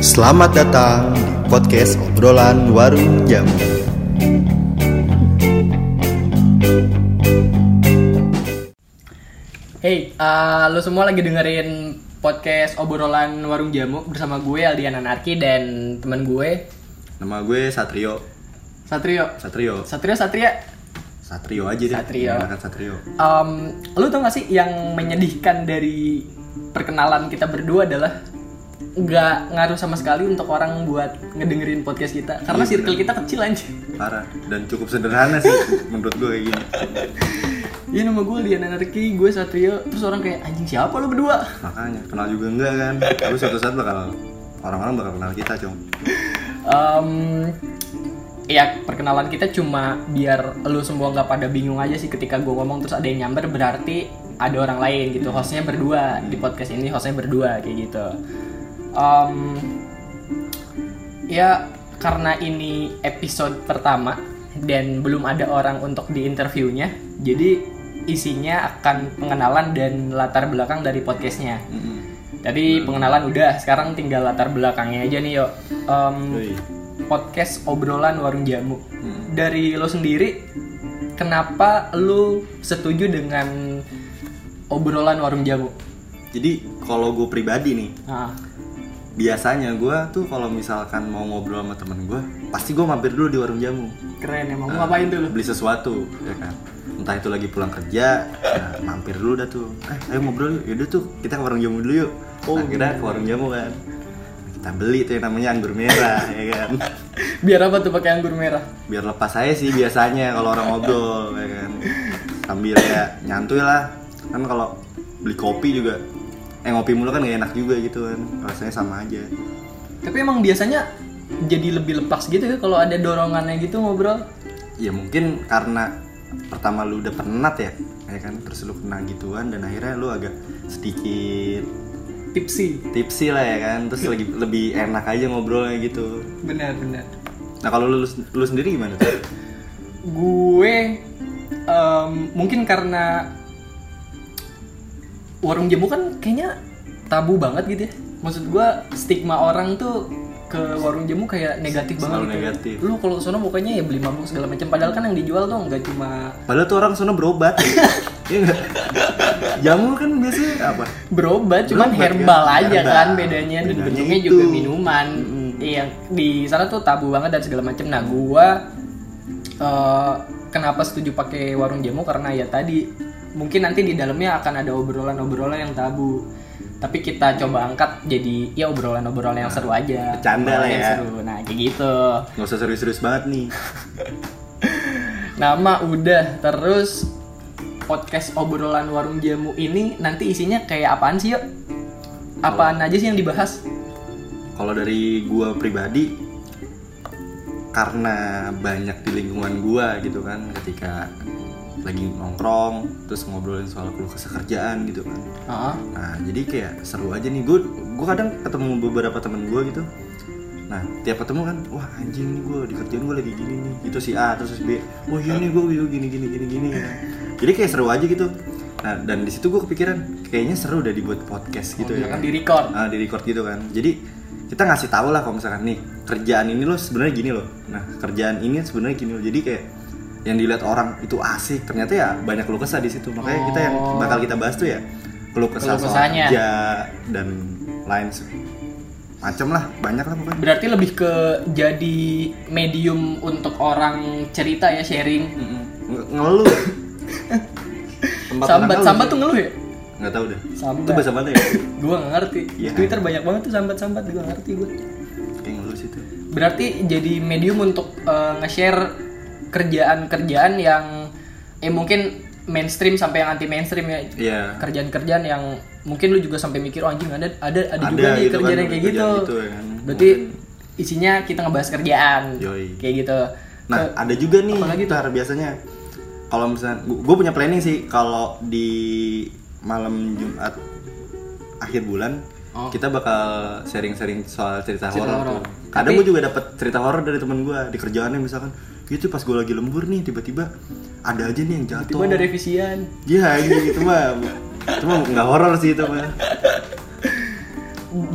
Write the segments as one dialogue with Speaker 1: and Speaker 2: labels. Speaker 1: Selamat datang di podcast obrolan warung jamu.
Speaker 2: Hey, eh, lo semua lagi dengerin podcast obrolan warung jamu bersama gue Aldian Anarki dan teman gue
Speaker 1: Nama gue Satrio.
Speaker 2: Satrio.
Speaker 1: Satrio.
Speaker 2: Satrio Satria.
Speaker 1: Satrio aja deh.
Speaker 2: Satrio.
Speaker 1: Enakan Satrio.
Speaker 2: Em, um, lo tau gak sih yang menyedihkan dari perkenalan kita berdua adalah nggak ngaruh sama sekali untuk orang buat ngedengerin podcast kita karena
Speaker 1: Iya,
Speaker 2: circle kita kecil aja.
Speaker 1: Parah dan cukup sederhana sih menurut gue kayak gini.
Speaker 2: Iya nama gue Aldian Anarki, gue Satrio. Terus orang kayak anjing siapa lo berdua?
Speaker 1: Makanya kenal juga enggak kan? Tapi suatu saat bakal orang-orang bakal kenal kita, Cong.
Speaker 2: Em, ya perkenalan kita cuma biar lu semua nggak pada bingung aja sih ketika gue ngomong terus ada yang nyamber berarti ada orang lain gitu hostnya berdua di podcast ini hostnya berdua kayak gitu Em, ya karena ini episode pertama dan belum ada orang untuk diinterviewnya jadi isinya akan pengenalan dan latar belakang dari podcastnya
Speaker 1: Mm-mm.
Speaker 2: Tadi pengenalan udah, sekarang tinggal latar belakangnya aja nih yo. Em,
Speaker 1: Yoi.
Speaker 2: podcast obrolan warung jamu.
Speaker 1: Hmm.
Speaker 2: Dari lo sendiri, kenapa lo setuju dengan obrolan warung jamu?
Speaker 1: Jadi kalau gue pribadi nih,
Speaker 2: Nah,
Speaker 1: biasanya gue tuh kalau misalkan mau ngobrol sama temen gue, pasti gue mampir dulu di warung jamu.
Speaker 2: keren emang. Mau ngapain tuh lo?
Speaker 1: beli sesuatu ya kan entah itu lagi pulang kerja nah, mampir dulu dah tuh eh ayo ngobrol yuk yaudah tuh kita ke warung jamu dulu yuk
Speaker 2: Oh,
Speaker 1: akhirnya ke warung jamu kan kita beli tuh yang namanya anggur merah ya kan
Speaker 2: Biar apa tuh pakai anggur merah?
Speaker 1: biar lepas saya sih biasanya kalau orang ngobrol ya kan sambil ya nyantuy lah kan kalau beli kopi juga eh ngopi mulu kan gak enak juga gitu kan rasanya sama aja
Speaker 2: Tapi emang biasanya jadi lebih lepas gitu ya kalau ada dorongannya gitu ngobrol.
Speaker 1: ya mungkin karena pertama lu udah penat ya ya kan terus lu kena gituan dan akhirnya lu agak sedikit
Speaker 2: Tipsi,
Speaker 1: tipsi lah ya kan terus lagi lebih enak aja ngobrolnya gitu
Speaker 2: benar-benar.
Speaker 1: nah kalau lu, lu sendiri gimana tuh
Speaker 2: gue em, mungkin karena warung jamu kan kayaknya tabu banget gitu ya maksud gue stigma orang tuh ke warung jamu kayak negatif banget
Speaker 1: Selalu negatif.
Speaker 2: gitu. lu kalau ke sono pokoknya ya beli mabuk segala macam padahal kan yang dijual tuh nggak cuma
Speaker 1: padahal tuh orang sana berobat Iya nggak? jamu kan biasanya apa
Speaker 2: berobat cuman
Speaker 1: Berobat,
Speaker 2: herbal
Speaker 1: kan?
Speaker 2: aja
Speaker 1: Herbal.
Speaker 2: kan bedanya dan
Speaker 1: Bedanya
Speaker 2: bentuknya
Speaker 1: itu.
Speaker 2: juga minuman
Speaker 1: Mm-mm.
Speaker 2: Iya, di sana tuh tabu banget dan segala macam nah gua eh, kenapa setuju pakai warung jamu karena ya tadi mungkin nanti di dalamnya akan ada obrolan-obrolan yang tabu tapi kita coba angkat jadi ya obrolan-obrolan yang seru aja
Speaker 1: Nah, bercanda lah
Speaker 2: Obrolan yang
Speaker 1: ya.
Speaker 2: seru. nah kayak gitu
Speaker 1: nggak usah serius-serius banget nih
Speaker 2: nama udah terus podcast obrolan warung jamu ini nanti isinya kayak apaan sih yuk apaan aja sih yang dibahas
Speaker 1: kalau dari gua pribadi karena banyak di lingkungan gua gitu kan ketika lagi nongkrong terus ngobrolin soal keluh kesah kerjaan gitu kan
Speaker 2: Heeh.
Speaker 1: Nah, jadi kayak seru aja nih. Gue gue kadang ketemu beberapa temen gue gitu. Nah, tiap ketemu kan, wah anjing nih gue di kerjaan gue lagi gini nih. Itu si A terus si B. Wah iya nih gue gini gini gini gini. Jadi kayak seru aja gitu. Nah, dan di situ gue kepikiran kayaknya seru udah dibuat podcast gitu ya
Speaker 2: kan
Speaker 1: kan.
Speaker 2: di record
Speaker 1: Ah, di record gitu kan. Jadi kita ngasih tahu lah kalau misalkan nih kerjaan ini loh sebenarnya gini loh. Nah, kerjaan ini sebenarnya gini loh. Jadi kayak yang dilihat orang itu asik ternyata ya banyak keluh kesah di situ makanya kita yang
Speaker 2: Oh.
Speaker 1: bakal kita bahas tuh ya keluh
Speaker 2: Keluh
Speaker 1: kesah soal
Speaker 2: kesahnya.
Speaker 1: kerja dan lain se- macem lah banyak lah pokoknya
Speaker 2: Berarti lebih ke jadi medium untuk orang cerita ya sharing.
Speaker 1: Nge- ngeluh Tempat orang
Speaker 2: sambat
Speaker 1: ngeluh.
Speaker 2: sambat tuh ngeluh ya?
Speaker 1: nggak tahu deh
Speaker 2: Sambat.
Speaker 1: itu bahasa mana ya
Speaker 2: Gua nggak ngerti.
Speaker 1: Iya.
Speaker 2: Di Twitter banyak banget tuh sambat sambat gua nggak ngerti gua.
Speaker 1: kayak ngeluh sih tuh
Speaker 2: Berarti jadi medium untuk eh, nge-share kerjaan-kerjaan yang eh mungkin mainstream sampai yang anti mainstream ya.
Speaker 1: iya
Speaker 2: Kerjaan-kerjaan yang mungkin lu juga sampai mikir oh, anjing ada ada ada,
Speaker 1: Ada
Speaker 2: juga nih
Speaker 1: gitu kan,
Speaker 2: kerjaan yang
Speaker 1: ada
Speaker 2: kayak gitu.
Speaker 1: kerjaan gitu ya kan.
Speaker 2: Berarti isinya kita ngebahas kerjaan.
Speaker 1: Yoi.
Speaker 2: Kayak gitu.
Speaker 1: Nah, ada juga nih
Speaker 2: apalagi
Speaker 1: Tar, biasanya kalau misalnya gue punya planning sih kalau di malam Jumat akhir bulan
Speaker 2: Oh.
Speaker 1: kita bakal sharing-sharing soal cerita,
Speaker 2: Cerita horor.
Speaker 1: horor. tuh. Kadang
Speaker 2: Tapi-
Speaker 1: gue juga dapat cerita horor dari temen gue di kerjaannya misalkan gitu pas gue lagi lembur nih tiba-tiba ada aja nih yang jatuh.
Speaker 2: Tiba ada revisian.
Speaker 1: Iya gitu, gitu mah. Cuma nggak horor sih itu mah.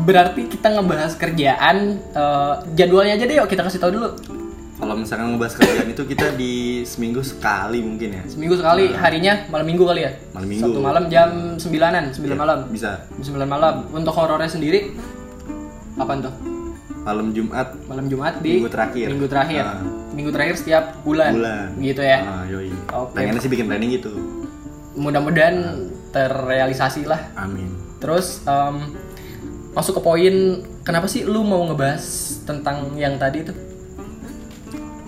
Speaker 2: berarti kita ngebahas kerjaan eh, jadwalnya aja deh yuk kita kasih tahu dulu
Speaker 1: Kalau misalkan ngebahas kerjaan itu kita di seminggu sekali mungkin ya.
Speaker 2: seminggu sekali harinya malam minggu kali ya
Speaker 1: Malam minggu.
Speaker 2: satu malam jam 9an 9
Speaker 1: Ya,
Speaker 2: malam
Speaker 1: Bisa.
Speaker 2: 9 malam untuk horornya sendiri kapan tuh
Speaker 1: Malam Jumat
Speaker 2: malam Jumat di
Speaker 1: Minggu terakhir.
Speaker 2: minggu terakhir,
Speaker 1: Ah.
Speaker 2: Minggu terakhir setiap bulan,
Speaker 1: Bulan.
Speaker 2: gitu ya
Speaker 1: Ah, yoi.
Speaker 2: Oke.
Speaker 1: Pengennya Ah. sih bikin planning gitu.
Speaker 2: mudah-mudahan terrealisasi lah
Speaker 1: Amin.
Speaker 2: terus em, masuk ke poin kenapa sih lu mau ngebahas tentang yang tadi itu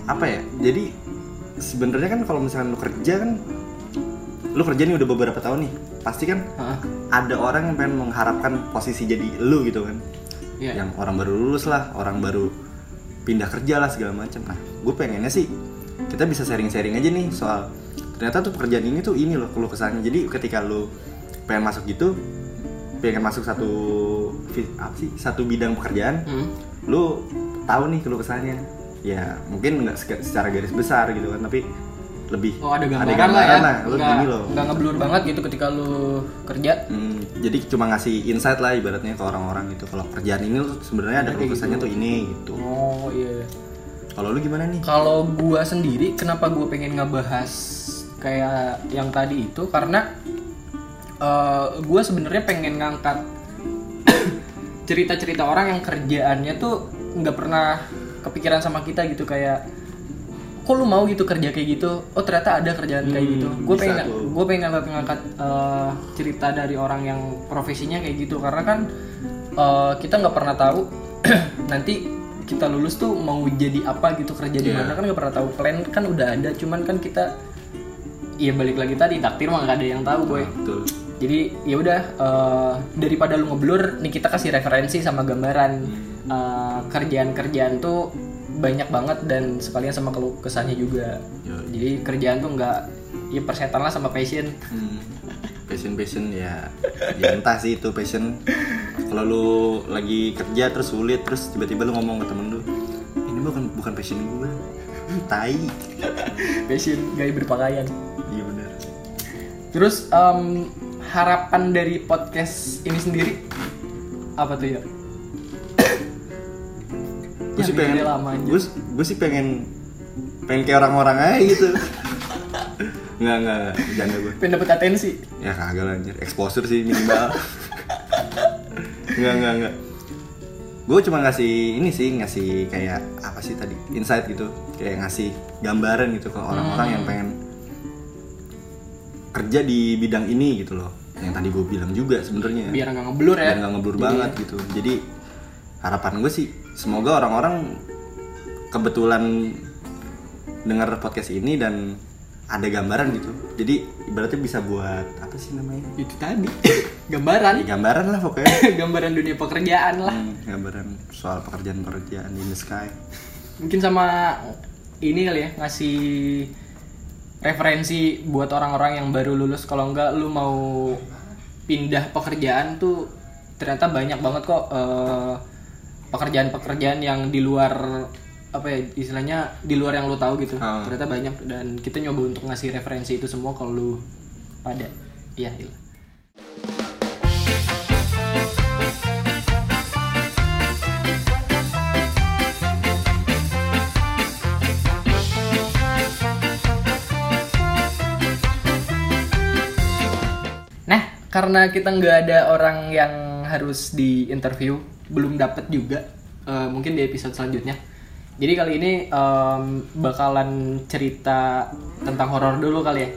Speaker 1: apa ya jadi sebenarnya kan kalau misalkan lu kerja kan lu kerja nih udah beberapa tahun nih pasti kan
Speaker 2: Heeh.
Speaker 1: ada orang yang pengen mengharapkan posisi jadi lu gitu kan
Speaker 2: Iya.
Speaker 1: yang orang baru lulus lah orang baru pindah kerja lah segala macam nah gue pengennya sih kita bisa sharing-sharing aja nih soal ternyata tuh pekerjaan ini tuh ini loh keluh kesannya jadi ketika lu pengen masuk gitu pengen masuk satu fi- apa sih satu bidang pekerjaan
Speaker 2: Hmm.
Speaker 1: lu tahu nih keluh kesannya ya mungkin nggak seka- secara garis besar gitu kan tapi lebih
Speaker 2: Oh ada gambaran, lah ya,
Speaker 1: lah, lu
Speaker 2: nggak,
Speaker 1: gini loh
Speaker 2: nggak ngeblur banget gitu ketika lu kerja.
Speaker 1: Hmm, jadi cuma ngasih insight lah ibaratnya ke orang-orang gitu kalau kerjaan ini tuh sebenarnya ada
Speaker 2: Kayak
Speaker 1: keluh
Speaker 2: gitu.
Speaker 1: kesannya tuh ini gitu
Speaker 2: Oh iya.
Speaker 1: kalau lu gimana nih
Speaker 2: Kalau gua sendiri, kenapa gua pengen ngebahas kayak yang tadi itu karena eh gua sebenarnya pengen ngangkat cerita-cerita orang yang kerjaannya tuh nggak pernah kepikiran sama kita gitu kayak kok lu mau gitu kerja kayak gitu oh ternyata ada kerjaan kayak
Speaker 1: Hmm,
Speaker 2: gitu gue
Speaker 1: bisa
Speaker 2: pengen
Speaker 1: tuh.
Speaker 2: gue pengen ngangkat ngangkat eh, cerita dari orang yang profesinya kayak gitu karena kan eh, kita nggak pernah tahu nanti kita lulus tuh mau jadi apa gitu kerja di
Speaker 1: Iya.
Speaker 2: mana kan nggak pernah tahu plan kan udah ada cuman kan kita ya balik lagi tadi takdir mah nggak ada yang tahu boy
Speaker 1: Nah, betul
Speaker 2: jadi ya udah eh, daripada lu ngeblur nih kita kasih referensi sama gambaran Eh, kerjaan-kerjaan tuh banyak banget dan sekalian sama keluh kesannya juga.
Speaker 1: Yoi.
Speaker 2: Jadi kerjaan tuh nggak ya persetan lah sama passion.
Speaker 1: Hmm, passion passion ya ya entah sih itu passion kalau lu lagi kerja terus sulit terus tiba-tiba lu ngomong ke temen lu ini bukan bukan passion gue tai
Speaker 2: passion gaya berpakaian.
Speaker 1: iya bener
Speaker 2: Terus em, harapan dari podcast ini sendiri apa tuh ya?
Speaker 1: gue sih
Speaker 2: Ya,
Speaker 1: pengen
Speaker 2: beda lama aja.
Speaker 1: gue gue sih pengen pengen kayak orang-orang aja gitu nggak nggak nggak, bercanda gue
Speaker 2: Pengen dapet atensi.
Speaker 1: ya kagak lah anjir exposure sih minimal nggak nggak nggak gue cuma ngasih ini sih ngasih kayak apa sih tadi insight gitu kayak ngasih gambaran gitu ke orang-orang
Speaker 2: Hmm.
Speaker 1: yang pengen kerja di bidang ini gitu loh yang tadi gue bilang juga sebenarnya
Speaker 2: Biar nggak ngeblur ya.
Speaker 1: Iya. biar nggak ngeblur
Speaker 2: Jadi,
Speaker 1: banget gitu jadi harapan gue sih semoga orang-orang kebetulan dengar podcast ini dan ada gambaran gitu jadi ibaratnya bisa buat apa sih namanya
Speaker 2: Itu tadi gambaran,
Speaker 1: Ya, gambaran lah pokoknya
Speaker 2: gambaran dunia pekerjaan lah.
Speaker 1: Hmm, gambaran soal pekerjaan-pekerjaan in the sky
Speaker 2: mungkin sama ini kali ya ngasih referensi buat orang-orang yang baru lulus kalau enggak lu mau pindah pekerjaan tuh ternyata banyak banget kok eh, pekerjaan-pekerjaan yang di luar apa ya istilahnya di luar yang lu tahu gitu
Speaker 1: Ah.
Speaker 2: ternyata banyak dan kita nyoba untuk ngasih referensi itu semua kalau lu pada iya iya. Nah, karena kita nggak ada orang yang harus diinterview, belum dapat juga, eh, mungkin di episode selanjutnya. Jadi kali ini em, bakalan cerita tentang horor dulu kali ya.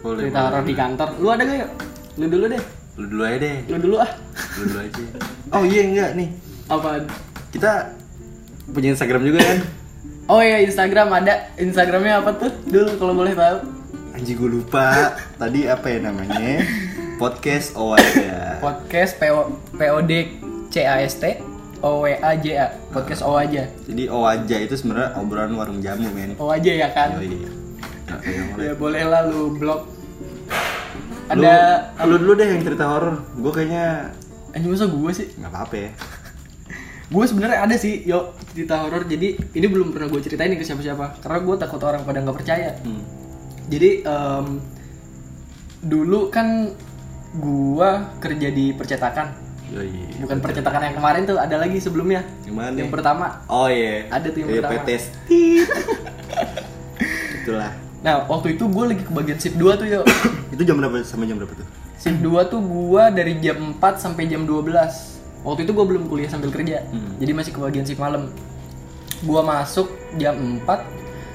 Speaker 1: boleh
Speaker 2: cerita horor di kantor. Lu ada gak yuk? Lu dulu deh.
Speaker 1: lu dulu aja deh
Speaker 2: Lu dulu ah.
Speaker 1: lu dulu aja oh iya enggak nih
Speaker 2: Apa?
Speaker 1: kita punya Instagram juga kan
Speaker 2: Oh ya Instagram ada. Instagramnya apa tuh? Dulu kalau boleh tahu.
Speaker 1: anjing gue lupa tadi apa ya namanya podcast oh ada
Speaker 2: Podcast PO POD CAST OWAJA. Podcast O aja.
Speaker 1: Jadi Owaja itu sebenarnya obrolan warung jamu, men.
Speaker 2: O aja ya kan.
Speaker 1: Yoi. Nah, kayak boleh.
Speaker 2: Ya boleh lah lu blok.
Speaker 1: Lu-
Speaker 2: Ada
Speaker 1: lu, dulu deh yang cerita horor. Gue kayaknya
Speaker 2: anjing masa gue sih?
Speaker 1: nggak apa-apa ya.
Speaker 2: Gue sebenarnya ada sih, yo cerita horor. Jadi ini belum pernah gue ceritain nih ke siapa-siapa karena gue takut orang pada nggak percaya.
Speaker 1: Hmm.
Speaker 2: Jadi em, dulu kan gue kerja di percetakan.
Speaker 1: Yoi.
Speaker 2: bukan percetakan yang kemarin tuh ada lagi sebelumnya
Speaker 1: Yang mana?
Speaker 2: yang pertama
Speaker 1: oh iya.
Speaker 2: Ada tuh yang
Speaker 1: Iya,
Speaker 2: pertama.
Speaker 1: PTS. Itulah.
Speaker 2: nah waktu itu gue lagi kebagian shift 2 tuh yuk
Speaker 1: Itu jam berapa sama jam berapa tuh?
Speaker 2: shift 2 tuh gue dari jam 4 sampai jam 12 waktu itu gue belum kuliah sambil kerja
Speaker 1: Hmm.
Speaker 2: jadi masih kebagian shift malam gue masuk jam 4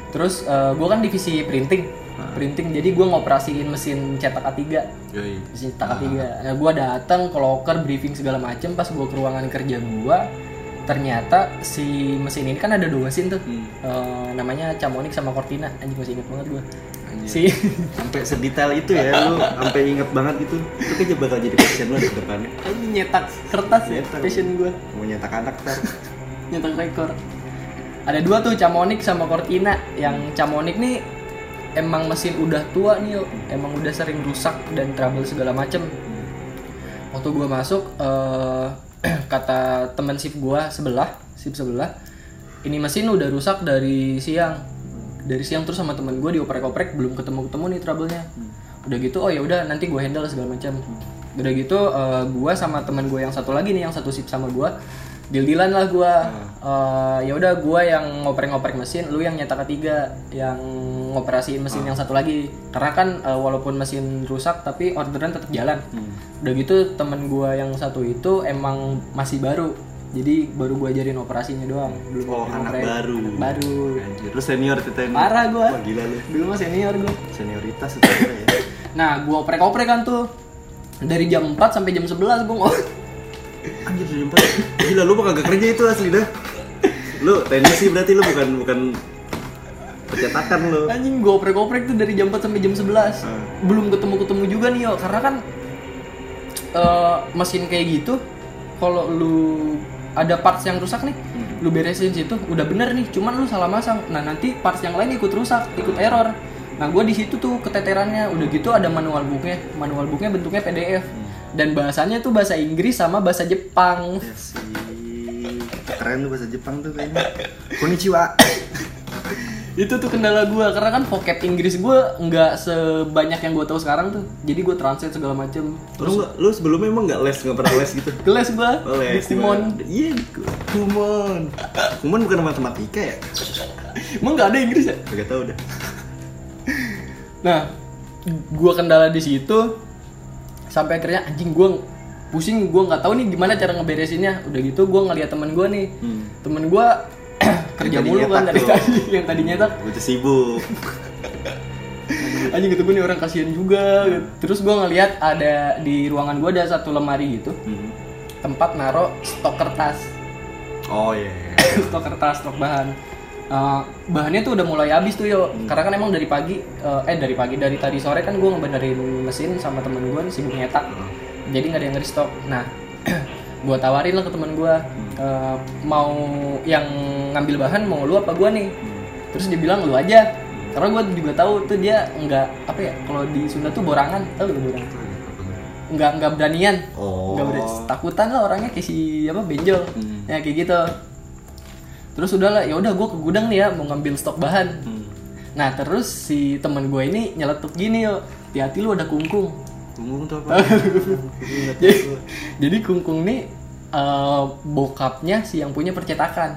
Speaker 2: terus gue kan divisi printing
Speaker 1: Hmm.
Speaker 2: printing jadi gue ngoperasiin mesin cetak A3
Speaker 1: Yoi.
Speaker 2: Mesin cetak
Speaker 1: Ah.
Speaker 2: tiga. Nah, gue datang ke locker briefing segala macem. Pas gue ke ruangan kerja gue, ternyata si mesin ini kan ada dua mesin tuh.
Speaker 1: Hmm.
Speaker 2: Eh, namanya Camonik sama Cortina. Anjing masih inget banget gue.
Speaker 1: Anjir.
Speaker 2: Si
Speaker 1: Sampai sedetail itu ya lu, sampai inget banget itu. Itu kayaknya bakal jadi passion lu di depannya.
Speaker 2: anjing nyetak kertas ya,
Speaker 1: Nyetak.
Speaker 2: passion gue.
Speaker 1: Mau nyetak anak ntar.
Speaker 2: Nyetak rekor. Ada dua tuh Camonik sama Cortina. Yang Camonik nih emang mesin udah tua nih, yo. emang udah sering rusak dan trouble segala macem. waktu gua masuk eh, kata teman sip gua sebelah sip sebelah ini mesin udah rusak dari siang dari siang terus sama temen gue dioprek-oprek belum ketemu ketemu nih trouble-nya udah gitu oh ya udah nanti gue handle segala macam udah gitu eh, gua sama temen gue yang satu lagi nih yang satu sip sama gua deal-dealan lah gua Eh, ya udah gua yang ngoprek-ngoprek mesin lu yang nyetak ketiga yang ngoperasiin mesin yang satu lagi karena kan eh, walaupun mesin rusak tapi orderan tetap jalan
Speaker 1: Hmm.
Speaker 2: udah gitu temen gua yang satu itu emang masih baru jadi baru gua ajarin operasinya doang belum
Speaker 1: Oh,
Speaker 2: belum
Speaker 1: anak
Speaker 2: oprek.
Speaker 1: baru.
Speaker 2: Anak baru
Speaker 1: Anjir, Ah. lu senior kita ini.
Speaker 2: parah gua
Speaker 1: Wah, gila lu.
Speaker 2: dulu mah senior gua
Speaker 1: Senioritas itu ya.
Speaker 2: nah gua oprek-oprek kan tuh dari jam 4 sampai jam 11 gua ngop-
Speaker 1: Anjir jadi empat. Gila lu mah kagak kerja itu asli dah. Lu teknisi berarti lu bukan bukan percetakan lu.
Speaker 2: anjing gua oprek-oprek tuh dari jam 4 sampai jam 11
Speaker 1: Hmm.
Speaker 2: belum ketemu-ketemu juga nih yo karena kan eh, mesin kayak gitu kalau lu ada parts yang rusak nih lu beresin situ udah bener nih cuman lu salah masang nah nanti parts yang lain ikut rusak ikut error nah gua di situ tuh keteterannya udah gitu ada manual booknya manual booknya bentuknya PDF dan bahasanya tuh bahasa Inggris sama bahasa Jepang
Speaker 1: Ya sih. Keren lu bahasa Jepang tuh kayaknya. Konnichiwa.
Speaker 2: itu tuh kendala gua karena kan vocab Inggris gua nggak sebanyak yang gua tahu sekarang tuh jadi gua translate segala macem
Speaker 1: Lu nggak- lu sebelumnya emang nggak les nggak pernah les gitu?
Speaker 2: geles gua di
Speaker 1: Les.
Speaker 2: kumon
Speaker 1: gimana? Iya di ku- kumon. Kumon bukan matematika ya?
Speaker 2: emang nggak ada Inggris ya
Speaker 1: Gak tau dah.
Speaker 2: nah gua kendala di situ sampai akhirnya anjing gua pusing gua nggak tahu nih gimana cara ngeberesinnya udah gitu gua ngeliat temen gua nih
Speaker 1: Hmm.
Speaker 2: temen gua kerja
Speaker 1: Yang tadi
Speaker 2: mulu kan
Speaker 1: nyetak
Speaker 2: dari
Speaker 1: tuh.
Speaker 2: tadi yang tadi nyetak
Speaker 1: Gue tuh sibuk.
Speaker 2: anjing gitu gue nih orang kasihan juga gitu. terus gua ngeliat ada di ruangan gua ada satu lemari gitu
Speaker 1: Hmm.
Speaker 2: tempat naro stok kertas
Speaker 1: Oh iya.
Speaker 2: stok kertas stok bahan Eh, bahannya tuh udah mulai habis tuh yo karena kan emang dari pagi eh, eh dari pagi dari tadi sore kan gue ngebenerin mesin sama temen gue nih sibuk nyetak jadi nggak ada yang restock nah gue tawarin lah ke temen gue eh, mau yang ngambil bahan mau lu apa gue nih terus dia bilang lu aja karena gue juga tahu tuh dia nggak apa ya kalau di Sunda tuh borangan tau lu borang nggak nggak beranian
Speaker 1: Oh.
Speaker 2: nggak berani takutan lah orangnya kayak si apa benjol
Speaker 1: Hmm.
Speaker 2: ya kayak gitu terus udahlah ya udah gue ke gudang nih ya mau ngambil stok bahan
Speaker 1: Hmm.
Speaker 2: nah terus si teman gue ini nyeletuk gini yo hati-hati lu ada kungkung
Speaker 1: Kumon tuh apa?
Speaker 2: jadi, jadi kungkung nih eh, bokapnya si yang punya percetakan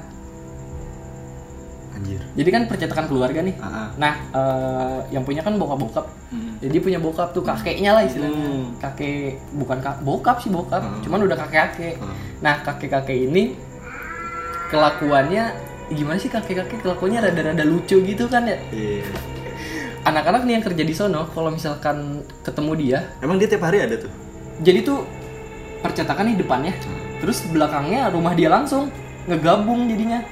Speaker 1: Anjir.
Speaker 2: jadi kan percetakan keluarga nih
Speaker 1: Ah. ah.
Speaker 2: nah eh, yang punya kan bokap-bokap
Speaker 1: Hmm.
Speaker 2: jadi punya bokap tuh kakeknya lah istilahnya
Speaker 1: Hmm.
Speaker 2: kakek bukan kak bokap sih bokap
Speaker 1: Hmm.
Speaker 2: cuman udah kakek-kakek
Speaker 1: Ah.
Speaker 2: Nah, kakek-kakek ini kelakuannya gimana sih kakek-kakek kelakuannya rada-rada lucu gitu kan ya.
Speaker 1: Iya.
Speaker 2: Anak-anak nih yang kerja di sono kalau misalkan ketemu dia,
Speaker 1: Emang dia tiap hari ada tuh?
Speaker 2: jadi tuh percetakan nih depannya. Terus belakangnya rumah dia langsung ngegabung jadinya.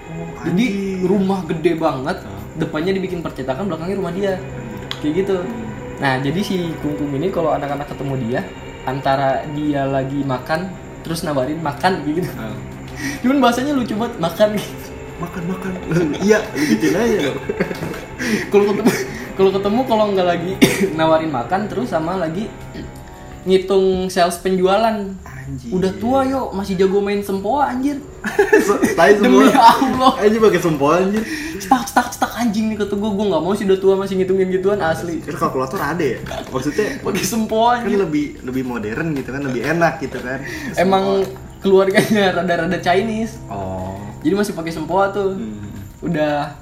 Speaker 2: Jadi rumah gede banget, depannya dibikin percetakan, belakangnya rumah dia. Kayak gitu. Nah, jadi si kungkung ini kalau anak-anak ketemu dia, antara dia lagi makan terus nawarin makan kayak gitu.
Speaker 1: Ah.
Speaker 2: Cuman bahasanya lucu banget, makan gitu.
Speaker 1: Makan makan. Iya, gitu aja.
Speaker 2: kalau ketemu kalau ketemu kalau nggak lagi nawarin makan terus sama lagi ngitung sales penjualan
Speaker 1: Anjir.
Speaker 2: Udah tua yo masih jago main sempoa anjir.
Speaker 1: Tai semua.
Speaker 2: Demi Allah.
Speaker 1: Anjir pakai sempoa anjir.
Speaker 2: Stak stak stak anjing nih kata gue gue nggak mau sih udah tua masih ngitungin gituan asli.
Speaker 1: Kan kalkulator ada ya. Maksudnya
Speaker 2: Pakai sempoa
Speaker 1: kan
Speaker 2: anjir.
Speaker 1: lebih lebih modern gitu kan, lebih enak gitu kan.
Speaker 2: Emang keluarganya rada-rada Chinese.
Speaker 1: Oh.
Speaker 2: Jadi masih pakai sempoa tuh.
Speaker 1: Hmm.
Speaker 2: udah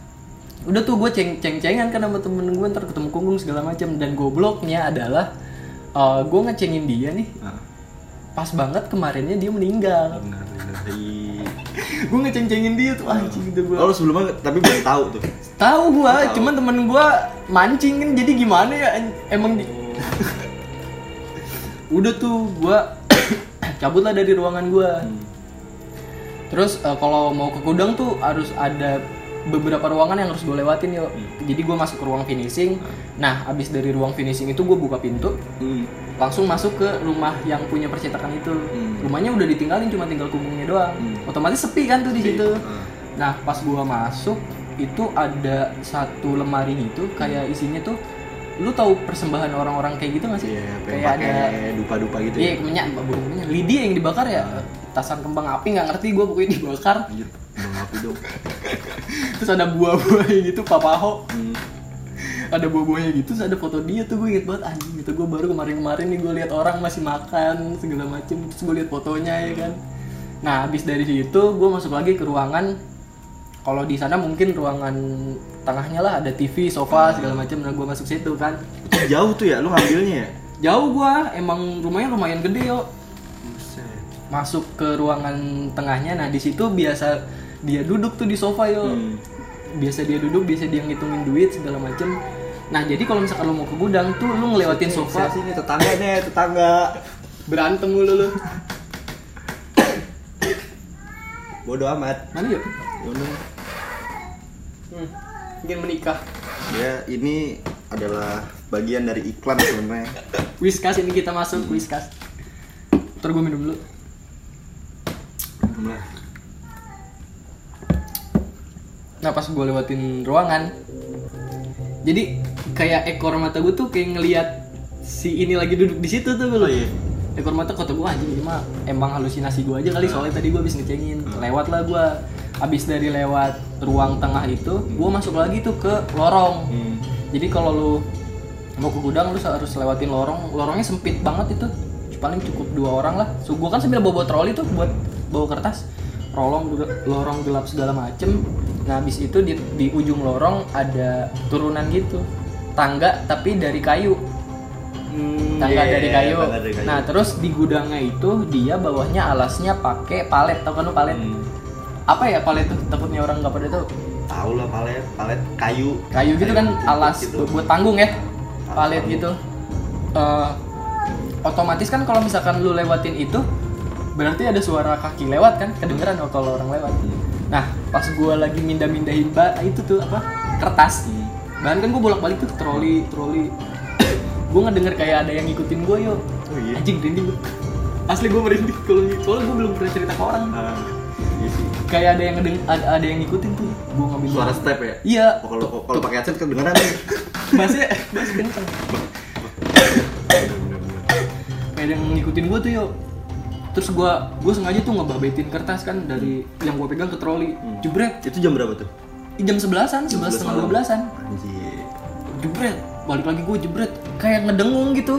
Speaker 2: udah tuh gue ceng ceng cengan kan sama temen gue ntar ketemu kungkung segala macam dan gobloknya adalah eh, gue ngecengin dia nih
Speaker 1: Nah,
Speaker 2: pas banget kemarinnya dia meninggal
Speaker 1: benar benar.
Speaker 2: gue ngeceng cengin dia tuh anjing gitu gue
Speaker 1: Oh, lu sebelumnya tapi belum tahu tuh.
Speaker 2: tahu gue cuman temen gue mancing kan jadi gimana ya an- emang di- udah tuh gue cabut lah dari ruangan gue terus eh, kalau mau ke gudang tuh harus ada beberapa ruangan yang harus gue lewatin yuk jadi gue masuk ke ruang finishing nah abis dari ruang finishing itu gue buka pintu
Speaker 1: Hmm.
Speaker 2: langsung masuk ke rumah yang punya percetakan itu
Speaker 1: Hmm.
Speaker 2: rumahnya udah ditinggalin cuma tinggal kumbungnya doang
Speaker 1: Hmm.
Speaker 2: otomatis sepi kan tuh di situ
Speaker 1: Hmm.
Speaker 2: nah pas gue masuk itu ada satu lemari gitu kayak
Speaker 1: Hmm.
Speaker 2: isinya tuh lu tahu persembahan orang-orang kayak gitu gak sih
Speaker 1: Iya, pengen
Speaker 2: kayak ada
Speaker 1: pakai dupa-dupa gitu ya. Hmm.
Speaker 2: Iya, kemenyan, bubur kemenyan. Lidi yang dibakar ya, tasan kembang api nggak ngerti gue pokoknya dibakar.
Speaker 1: Anjir, bang api dong.
Speaker 2: Terus ada buah-buah gitu, papaho.
Speaker 1: Hmm.
Speaker 2: Ada buah-buahnya gitu, terus ada foto dia tuh gue inget banget anjing gitu. Gue baru kemarin-kemarin nih gue lihat orang masih makan segala macem, terus gue lihat fotonya ya kan. Nah, habis dari situ gue masuk lagi ke ruangan. Kalau di sana mungkin ruangan tengahnya lah ada TV, sofa segala macem. Nah, gue masuk situ kan.
Speaker 1: Itu jauh tuh ya, lu ngambilnya ya?
Speaker 2: Jauh gua, emang rumahnya lumayan gede yo.
Speaker 1: Buset.
Speaker 2: masuk ke ruangan tengahnya nah di situ biasa dia duduk tuh di sofa yo
Speaker 1: Hmm.
Speaker 2: biasa dia duduk biasa dia ngitungin duit segala macem nah jadi kalau misalkan lo mau ke gudang tuh lo ngelewatin sofa
Speaker 1: sini tetangga nih, tetangga.
Speaker 2: berantem mulu lo
Speaker 1: Bodoh amat.
Speaker 2: mana yuk
Speaker 1: Bodoh.
Speaker 2: hmm. ingin menikah
Speaker 1: Ya, ini adalah bagian dari iklan sebenarnya.
Speaker 2: whiskas ini kita masuk whiskas ntar gue minum dulu
Speaker 1: Minum lah.
Speaker 2: nah pas gue lewatin ruangan jadi kayak ekor mata gue tuh kayak ngelihat si ini lagi duduk di situ tuh lo
Speaker 1: Oh, iya.
Speaker 2: ekor mata kata gue anjing ini mah emang halusinasi gue aja
Speaker 1: Nah.
Speaker 2: kali soalnya tadi gue abis ngecengin lewat lah gue abis dari lewat ruang tengah itu gue masuk lagi tuh ke lorong
Speaker 1: Hmm.
Speaker 2: jadi kalau lu mau ke gudang lu harus lewatin lorong lorongnya sempit banget itu paling cukup dua orang lah so gue kan sambil bawa, bawa troli tuh buat bawa kertas lorong lorong gelap segala macem nah habis itu di, di ujung lorong ada turunan gitu tangga tapi dari kayu tangga
Speaker 1: Iya,
Speaker 2: dari kayu.
Speaker 1: tangga dari kayu.
Speaker 2: Nah, terus di gudangnya itu dia bawahnya alasnya pakai palet. Tau kan lu palet?
Speaker 1: Hmm.
Speaker 2: Apa ya palet tuh? Takutnya orang nggak pada tahu.
Speaker 1: Tahu lah palet, palet kayu.
Speaker 2: Kayu gitu kan
Speaker 1: tumpuk
Speaker 2: alas
Speaker 1: gitu.
Speaker 2: bu- buat panggung ya.
Speaker 1: Alas
Speaker 2: Palet
Speaker 1: panggung.
Speaker 2: gitu. Eh, otomatis kan kalau misalkan lu lewatin itu berarti ada suara kaki lewat kan kedengeran
Speaker 1: Hmm.
Speaker 2: oh, kalau orang lewat. Nah, pas gua lagi mindah-mindahin ba itu tuh apa? Kertas.
Speaker 1: Hmm.
Speaker 2: Bahkan kan gue bolak-balik tuh ke troli, troli. gue ngedenger kayak ada yang ngikutin gue yuk.
Speaker 1: Oh iya.
Speaker 2: Anjing merinding gue. Asli gue merinding kalau gitu. Soalnya gue belum pernah cerita ke orang.
Speaker 1: Ah, iya sih.
Speaker 2: Kayak ada yang ngedeng ada, ada yang ngikutin tuh. Gue ngambil
Speaker 1: Suara step ya?
Speaker 2: Iya.
Speaker 1: Oh, Kalau kalau pakai headset kedengeran nih.
Speaker 2: Bassnya bass kenceng. Kayak ada yang ngikutin gue tuh yuk. Terus gue gue sengaja tuh ngebabetin kertas kan dari yang gue pegang ke troli.
Speaker 1: Hmm.
Speaker 2: Jebret.
Speaker 1: Itu jam berapa tuh?
Speaker 2: Ih, Jam sebelasan,
Speaker 1: Jam
Speaker 2: sebelas
Speaker 1: 11
Speaker 2: setengah
Speaker 1: malam.
Speaker 2: dua belasan.
Speaker 1: Anjir.
Speaker 2: jebret balik lagi gue jebret kayak ngedengung gitu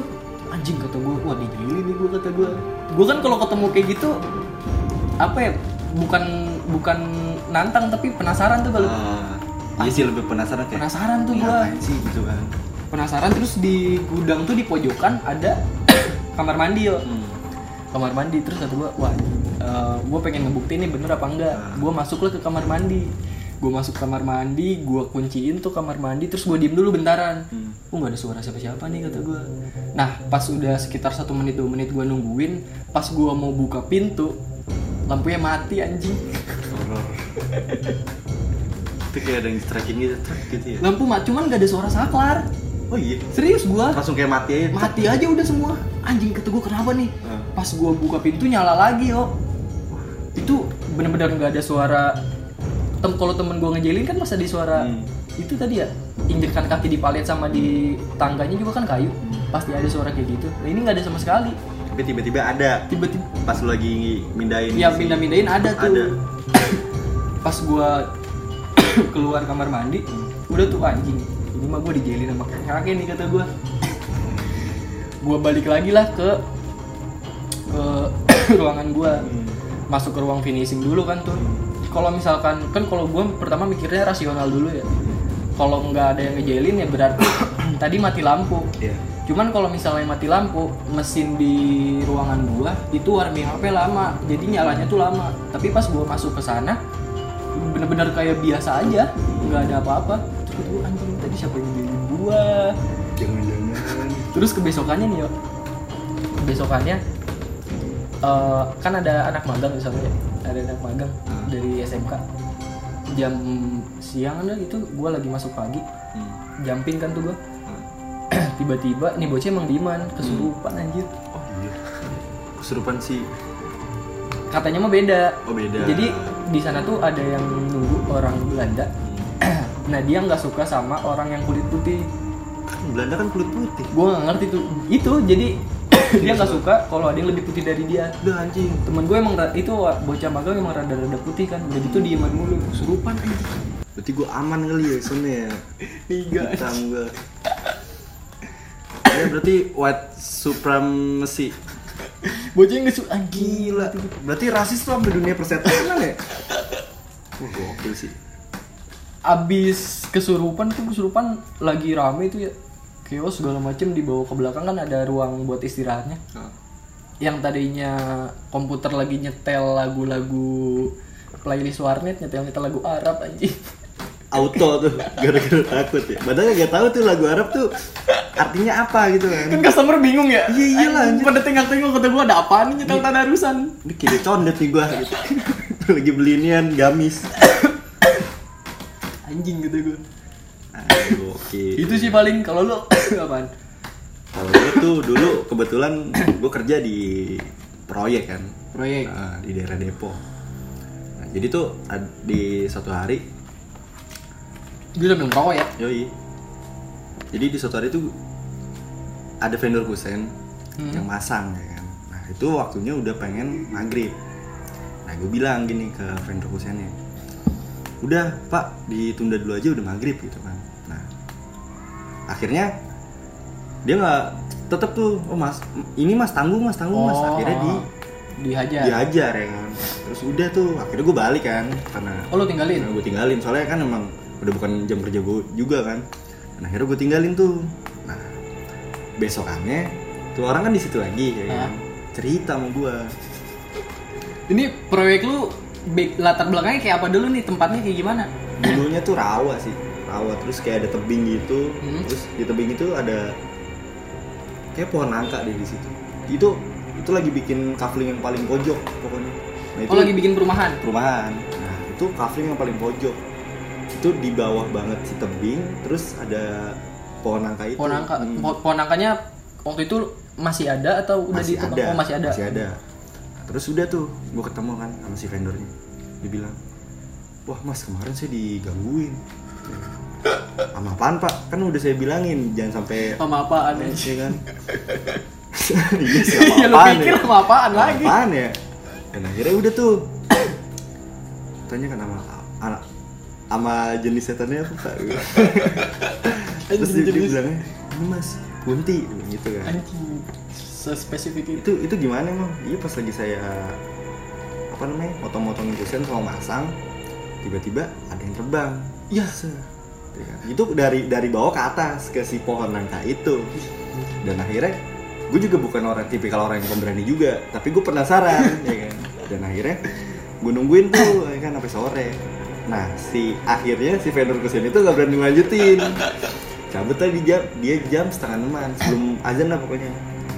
Speaker 2: anjing kata gue wah digili nih gue kata gue gue kan kalau ketemu kayak gitu apa ya bukan bukan nantang tapi penasaran tuh kalau
Speaker 1: Ah, iya sih lebih penasaran kayak.
Speaker 2: penasaran tuh
Speaker 1: ini
Speaker 2: gue
Speaker 1: ngapain sih gitu kan.
Speaker 2: penasaran terus di gudang tuh di pojokan ada kamar mandi yo
Speaker 1: Hmm.
Speaker 2: kamar mandi terus kata gue wah gue pengen ngebuktiin nih bener apa enggak
Speaker 1: Ah.
Speaker 2: gue masuklah ke kamar mandi gue masuk kamar mandi gue kunciin tuh kamar mandi terus gue diem dulu bentaran
Speaker 1: Hmm.
Speaker 2: Oh nggak ada suara siapa-siapa nih kata gue. Nah pas udah sekitar satu menit dua menit gue nungguin, pas gue mau buka pintu lampunya mati anjing.
Speaker 1: Horor. itu kayak ada yang striking gitu, truk gitu ya.
Speaker 2: Lampu mati, cuman nggak ada suara saklar.
Speaker 1: Oh iya.
Speaker 2: Serius gue,
Speaker 1: Langsung kayak mati aja. truk.
Speaker 2: mati aja udah semua. Anjing kata gue kenapa nih?
Speaker 1: Ah.
Speaker 2: Pas gue buka pintu nyala lagi yo. Itu bener-bener nggak ada suara. Tem kalau temen gue ngejelin kan masa di suara
Speaker 1: Hmm.
Speaker 2: itu tadi ya injekan
Speaker 1: Hmm.
Speaker 2: kaki di palet sama di tangganya juga kan kayu. Pasti ada suara kayak gitu. Nah ini nggak ada sama sekali.
Speaker 1: tapi tiba-tiba ada
Speaker 2: tiba-tiba
Speaker 1: pas lu lagi mindahin
Speaker 2: ya
Speaker 1: si-
Speaker 2: pindah-pindahin ada tuh
Speaker 1: Ada.
Speaker 2: pas gua keluar kamar mandi
Speaker 1: Hmm.
Speaker 2: udah tuh anjing ini mah gua dijelin sama kakek nih kata gua gua balik lagi lah ke ke ruangan gua
Speaker 1: Hmm.
Speaker 2: masuk ke ruang finishing dulu kan tuh kalau misalkan kan kalau gue pertama mikirnya rasional dulu ya kalau nggak ada yang ngejelin ya berarti tadi mati lampu
Speaker 1: Iya.
Speaker 2: cuman kalau misalnya mati lampu mesin di ruangan gua itu warming HP lama jadi nyalanya tuh lama tapi pas gua masuk ke sana bener-bener kayak biasa aja nggak ada apa-apa terus gue anjing tadi siapa yang ngejelin gua
Speaker 1: jangan-jangan
Speaker 2: terus kebesokannya nih yo kebesokannya eh, kan ada anak magang misalnya ada anak magang
Speaker 1: Hmm.
Speaker 2: dari SMK jam siang ada gitu gue lagi masuk pagi
Speaker 1: Hmm.
Speaker 2: jumping kan tuh gue
Speaker 1: Hmm.
Speaker 2: tiba-tiba nih bocah emang diman kesurupan anjir
Speaker 1: oh iya kesurupan sih
Speaker 2: katanya mah beda
Speaker 1: oh beda
Speaker 2: jadi di sana tuh ada yang nunggu orang Belanda
Speaker 1: Hmm.
Speaker 2: nah dia nggak suka sama orang yang kulit putih
Speaker 1: kan Belanda kan kulit putih
Speaker 2: gue nggak ngerti tuh itu jadi dia nggak suka kalau ada yang lebih putih dari dia
Speaker 1: udah anjing
Speaker 2: temen gue emang ra- itu wa- bocah magang emang rada-rada putih kan udah gitu dieman mulu kesurupan
Speaker 1: berarti gue aman kali ya sebenernya ya
Speaker 2: tiga
Speaker 1: hitam gue ya berarti white supremacy
Speaker 2: bocah yang ngesu anjing
Speaker 1: gila berarti rasis tuh sampai dunia persetanan ya Wah, gokil sih
Speaker 2: abis kesurupan tuh kesurupan lagi rame tuh ya kios segala macem dibawa ke belakang kan ada ruang buat istirahatnya yang tadinya komputer lagi nyetel lagu-lagu playlist warnet nyetel nyetel lagu Arab anjing
Speaker 1: auto tuh gara-gara takut ya padahal gak tahu tuh lagu Arab tuh artinya apa gitu kan
Speaker 2: kan customer bingung ya
Speaker 1: Iya, iyalah,
Speaker 2: Anjing, pada tengok-tengok kata gua ada apaan nih nyetel tadarusan
Speaker 1: ini kiri condet nih gua gitu. lagi beli inian gamis
Speaker 2: anjing gitu gua
Speaker 1: Aduh, Ah, gokil
Speaker 2: itu sih paling kalau lu apaan
Speaker 1: Kalau gue tuh dulu kebetulan gue kerja di proyek kan,
Speaker 2: proyek
Speaker 1: Nah, di daerah Depok. Nah, jadi tuh ad- di suatu hari,
Speaker 2: gue udah belum rokok ya
Speaker 1: yoi. Jadi di suatu hari tuh ada vendor kusen
Speaker 2: Hmm.
Speaker 1: yang masang ya kan. Nah itu waktunya udah pengen maghrib. Nah gue bilang gini ke vendor kusennya, udah pak ditunda dulu aja udah maghrib gitu kan. Nah akhirnya dia nggak tetep tuh oh mas ini mas tanggung mas tanggung mas akhirnya di
Speaker 2: Oh. dihajar
Speaker 1: diajar ya kan terus udah tuh akhirnya gue balik kan karena
Speaker 2: oh lu tinggalin
Speaker 1: gue tinggalin soalnya kan emang udah bukan jam kerja gue juga kan nah akhirnya gue tinggalin tuh nah besokannya tuh orang kan di situ lagi ya kan
Speaker 2: Hah?
Speaker 1: cerita sama gue
Speaker 2: ini proyek lu back- latar belakangnya kayak apa dulu nih tempatnya kayak gimana
Speaker 1: dulunya tuh rawa sih rawa terus kayak ada tebing gitu
Speaker 2: Hmm.
Speaker 1: terus di tebing itu ada kayak pohon nangka deh di situ itu itu lagi bikin kafling yang paling pojok pokoknya nah,
Speaker 2: oh lagi bikin perumahan
Speaker 1: perumahan. Nah, itu kafling yang paling pojok. Itu di bawah banget si tebing, terus ada pohon nangka itu.
Speaker 2: pohon nangka
Speaker 1: Hmm,
Speaker 2: po- pohon nangkanya waktu itu masih ada atau udah
Speaker 1: masih,
Speaker 2: ditebang?
Speaker 1: ada,
Speaker 2: Oh, masih ada
Speaker 1: Masih ada. Nah, terus udah tuh, gue ketemu kan sama si vendornya. Dia bilang, "Wah, Mas, kemarin saya digangguin." Sama apaan, Pak? Kan udah saya bilangin jangan sampai
Speaker 2: sama apaan ya?
Speaker 1: Iya kan? Iya, sih, sama
Speaker 2: ya lu
Speaker 1: apaan
Speaker 2: pikir
Speaker 1: ya?
Speaker 2: sama apaan lagi
Speaker 1: Apaan ya? Dan akhirnya udah tuh. Tanya kan sama anak sama jenis setannya apa Pak? Terus dia, dia
Speaker 2: Jenis-
Speaker 1: bilangnya, ini mas, kunti gitu kan.
Speaker 2: anjing sespesifik itu
Speaker 1: Itu itu gimana emang? Iya pas lagi saya apa namanya motong-motong kusen sama masang, tiba-tiba ada yang terbang.
Speaker 2: ya
Speaker 1: Ya kan? Itu dari dari bawah ke atas ke si pohon nangka itu. Dan akhirnya gue juga bukan orang tipikal orang yang pemberani juga, tapi gue penasaran, ya kan. Dan akhirnya gue nungguin tuh, ya kan sampai sore. Nah, si akhirnya si vendor kesini tuh gak berani lanjutin. Cabut tadi jam dia jam setengah enaman sebelum azan lah pokoknya.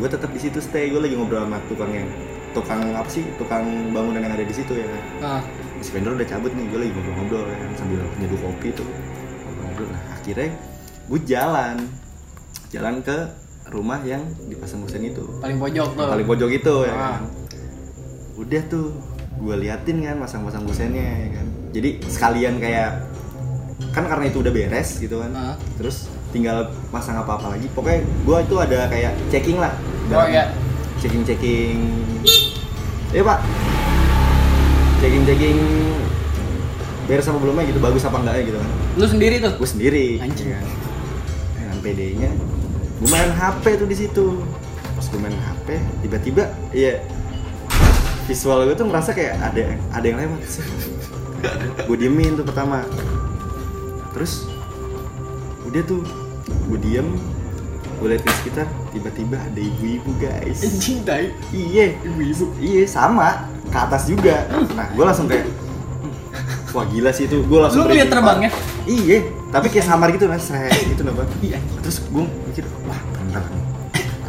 Speaker 1: Gue tetap di situ stay, gue lagi ngobrol sama tukang yang tukang apa sih tukang bangunan yang ada di situ ya kan
Speaker 2: nah
Speaker 1: si vendor udah cabut nih gue lagi ngobrol-ngobrol ya kan, sambil nyeduh kopi tuh ngobrol-ngobrol nah akhirnya gue jalan jalan ke rumah yang dipasang kusen itu
Speaker 2: paling pojok tuh
Speaker 1: paling pojok itu ya
Speaker 2: Ah.
Speaker 1: kan. udah tuh gue liatin kan pasang-pasang kusennya ya kan jadi sekalian kayak kan karena itu udah beres gitu kan
Speaker 2: Ah.
Speaker 1: terus tinggal pasang apa-apa lagi pokoknya gue itu ada kayak checking lah
Speaker 2: Oh, iya.
Speaker 1: checking checking eh pak checking checking beres apa belumnya gitu bagus apa enggaknya gitu kan
Speaker 2: Lu sendiri tuh.
Speaker 1: gue sendiri
Speaker 2: Anjing.
Speaker 1: ya kan. dengan PD-nya gue main HP tuh di situ pas gue main HP tiba-tiba ya visual gue tuh merasa kayak ada ada yang lewat gue diemin tuh pertama terus udah tuh gue diem gue liat ke sekitar tiba-tiba ada ibu-ibu guys
Speaker 2: Anjing tai.
Speaker 1: Iya, ibu-ibu. Iya, sama. Ke atas juga. Nah, gue langsung kayak Wah gila sih itu, gue
Speaker 2: Lu
Speaker 1: langsung
Speaker 2: ngeliat
Speaker 1: berhenti.
Speaker 2: terbangnya?
Speaker 1: Iya, tapi kayak samar gitu nah, seret gitu nah bang
Speaker 2: Iya.
Speaker 1: Terus gue mikir, wah bener nih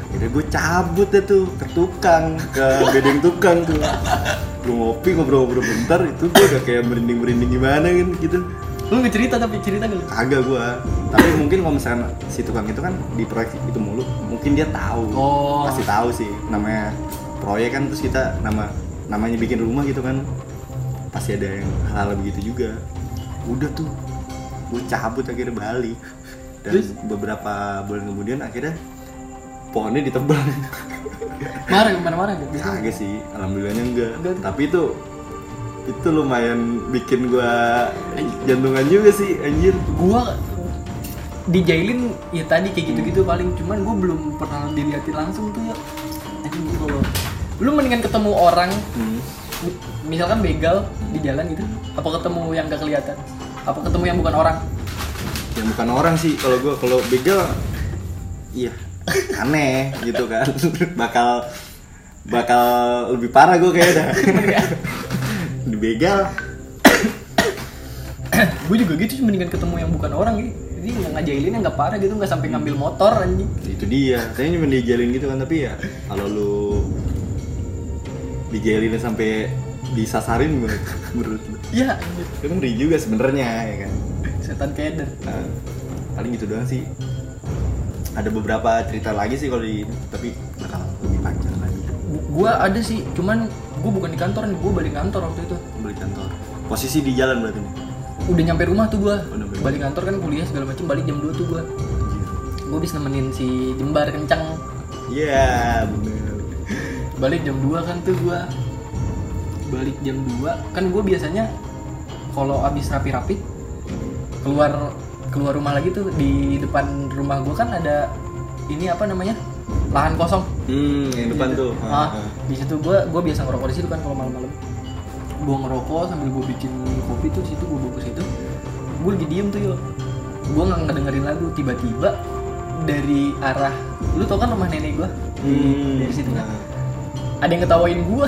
Speaker 1: Akhirnya gue cabut deh tuh ke tukang, ke bedeng tukang tuh Gue ngopi, ngobrol-ngobrol bentar, itu gue udah kayak merinding-merinding gimana kan gitu
Speaker 2: Lu ngecerita tapi cerita gak?
Speaker 1: Kagak gue, tapi mungkin kalau misalkan si tukang itu kan di proyek itu mulu, mungkin dia tahu
Speaker 2: Oh.
Speaker 1: pasti tahu sih namanya proyek kan terus kita nama namanya bikin rumah gitu kan pasti ada yang hal-hal begitu juga udah tuh gue cabut akhirnya balik dan
Speaker 2: Terus?
Speaker 1: beberapa bulan kemudian akhirnya pohonnya ditebang
Speaker 2: Marah kemana-mana gitu.
Speaker 1: kagak sih alhamdulillahnya enggak
Speaker 2: Enggak.
Speaker 1: tapi itu itu lumayan bikin gua jantungan juga sih anjir
Speaker 2: Gua dijailin ya tadi kayak gitu-gitu paling cuman gua belum pernah diliatin langsung tuh ya. Anjing gua kalau lu mendingan ketemu orang
Speaker 1: Hmm.
Speaker 2: mi- misalkan begal di jalan gitu apa ketemu yang gak kelihatan apa ketemu yang bukan orang
Speaker 1: ya bukan orang sih kalau gue kalau begal iya aneh gitu kan bakal bakal lebih parah gue kayaknya dah dibegal
Speaker 2: gue juga gitu cuma mendingan ketemu yang bukan orang gitu jadi nggak ngajailinnya nggak parah gitu nggak sampai ngambil motor anjing
Speaker 1: itu dia saya cuma dijalin gitu kan tapi ya kalau lu dijalin sampai disasarin menurut menurut lu
Speaker 2: ya anjing.
Speaker 1: itu kan ngeri juga sebenarnya ya kan
Speaker 2: setan keder
Speaker 1: Nah, paling gitu doang sih ada beberapa cerita lagi sih kalau di tapi bakal lebih panjang lagi
Speaker 2: gue ada sih cuman gue bukan di kantor nih gue balik kantor waktu itu
Speaker 1: beli kantor posisi di jalan berarti nih
Speaker 2: udah nyampe rumah tuh gue
Speaker 1: Udah nyampe
Speaker 2: balik kantor kan kuliah segala macam balik jam 2 tuh gue gue bisa nemenin si jembar kencang
Speaker 1: Iya, bener.
Speaker 2: balik jam 2 kan tuh gue balik jam 2 kan gue biasanya kalau abis rapi-rapi keluar keluar rumah lagi tuh di depan rumah gue kan ada ini apa namanya lahan kosong
Speaker 1: Hmm, yang depan tuh.
Speaker 2: Ah,
Speaker 1: Ah, ah.
Speaker 2: di situ gue gue biasa ngerokok di situ kan kalau malam-malam. Gue ngerokok sambil gue bikin kopi tuh di situ gue bawa ke situ. Gue lagi diem tuh yo. Gue nggak ngedengerin lagu tiba-tiba dari arah lu tau kan rumah nenek gue
Speaker 1: Hmm.
Speaker 2: dari situ kan
Speaker 1: Nah,
Speaker 2: ada yang ketawain gue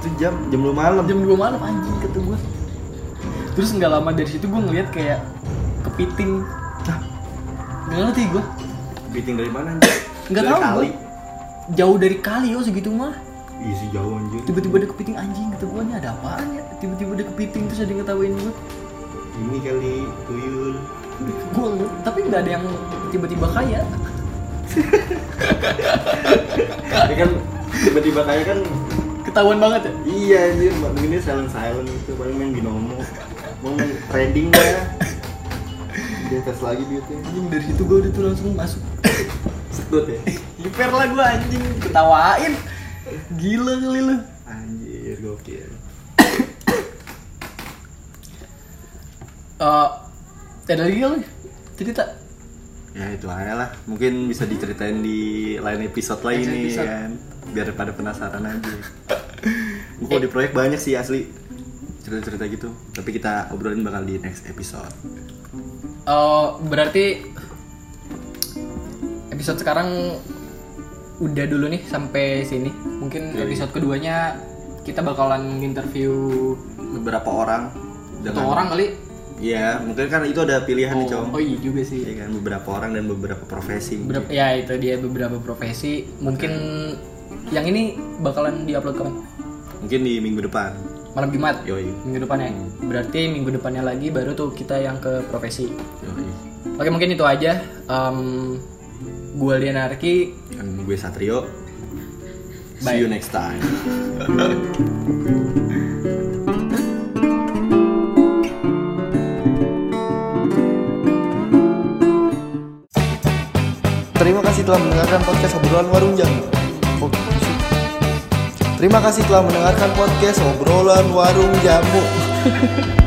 Speaker 1: Itu jam jam 2 malam.
Speaker 2: jam 2 malam anjing kata gue terus nggak lama dari situ gue ngeliat kayak kepiting
Speaker 1: Hah?
Speaker 2: nggak ngerti gue
Speaker 1: Biting dari mana? anjir?
Speaker 2: nggak
Speaker 1: Dari
Speaker 2: tahu
Speaker 1: kali.
Speaker 2: gue jauh dari kali yo segitu mah
Speaker 1: Ih, si jauh anjir.
Speaker 2: tiba-tiba ada kepiting anjing kata gue ini ada apaan ya tiba-tiba ada kepiting terus ada yang ngetawain gue
Speaker 1: Ini kali tuyul.
Speaker 2: gue tapi nggak ada yang tiba-tiba kaya
Speaker 1: Tapi kan tiba-tiba kayak kan
Speaker 2: ketahuan banget ya
Speaker 1: iya anjir, ini silent silent itu paling main binomo. Mau main trading ya. Dia tes lagi duitnya.
Speaker 2: anjing dari situ gue udah tuh langsung masuk
Speaker 1: Sedot ya.
Speaker 2: hiper lah gue anjing ketawain gila kali lu
Speaker 1: Anjir, gokil.
Speaker 2: Eh, ada lagi kali cerita
Speaker 1: ya itu aja lah mungkin bisa diceritain di lain episode lagi
Speaker 2: Lain
Speaker 1: nih
Speaker 2: episode.
Speaker 1: kan biar pada penasaran aja gue kalau di proyek banyak sih asli cerita-cerita gitu tapi kita obrolin bakal di next episode
Speaker 2: Eh, berarti episode sekarang udah dulu nih sampai sini mungkin
Speaker 1: Yoi.
Speaker 2: episode keduanya kita bakalan interview
Speaker 1: beberapa orang
Speaker 2: satu orang kali
Speaker 1: ya mungkin kan itu ada pilihan nih cowok
Speaker 2: oh iya juga sih
Speaker 1: ya kan beberapa orang dan beberapa profesi
Speaker 2: Beberapa- ya itu dia beberapa profesi. Mungkin yang ini bakalan diupload kapan?
Speaker 1: mungkin di minggu depan
Speaker 2: Malam Jumat.
Speaker 1: yoi
Speaker 2: Minggu depan ya. Berarti minggu depannya lagi baru tuh kita yang ke profesi.
Speaker 1: yoi
Speaker 2: Oke, mungkin itu aja. Em gue Lianarki.
Speaker 1: dan Kan gue Satrio
Speaker 2: Bye.
Speaker 1: see you next time
Speaker 3: Terima kasih telah mendengarkan podcast obrolan warung jamu. Pod- Terima kasih telah mendengarkan podcast obrolan warung jamu.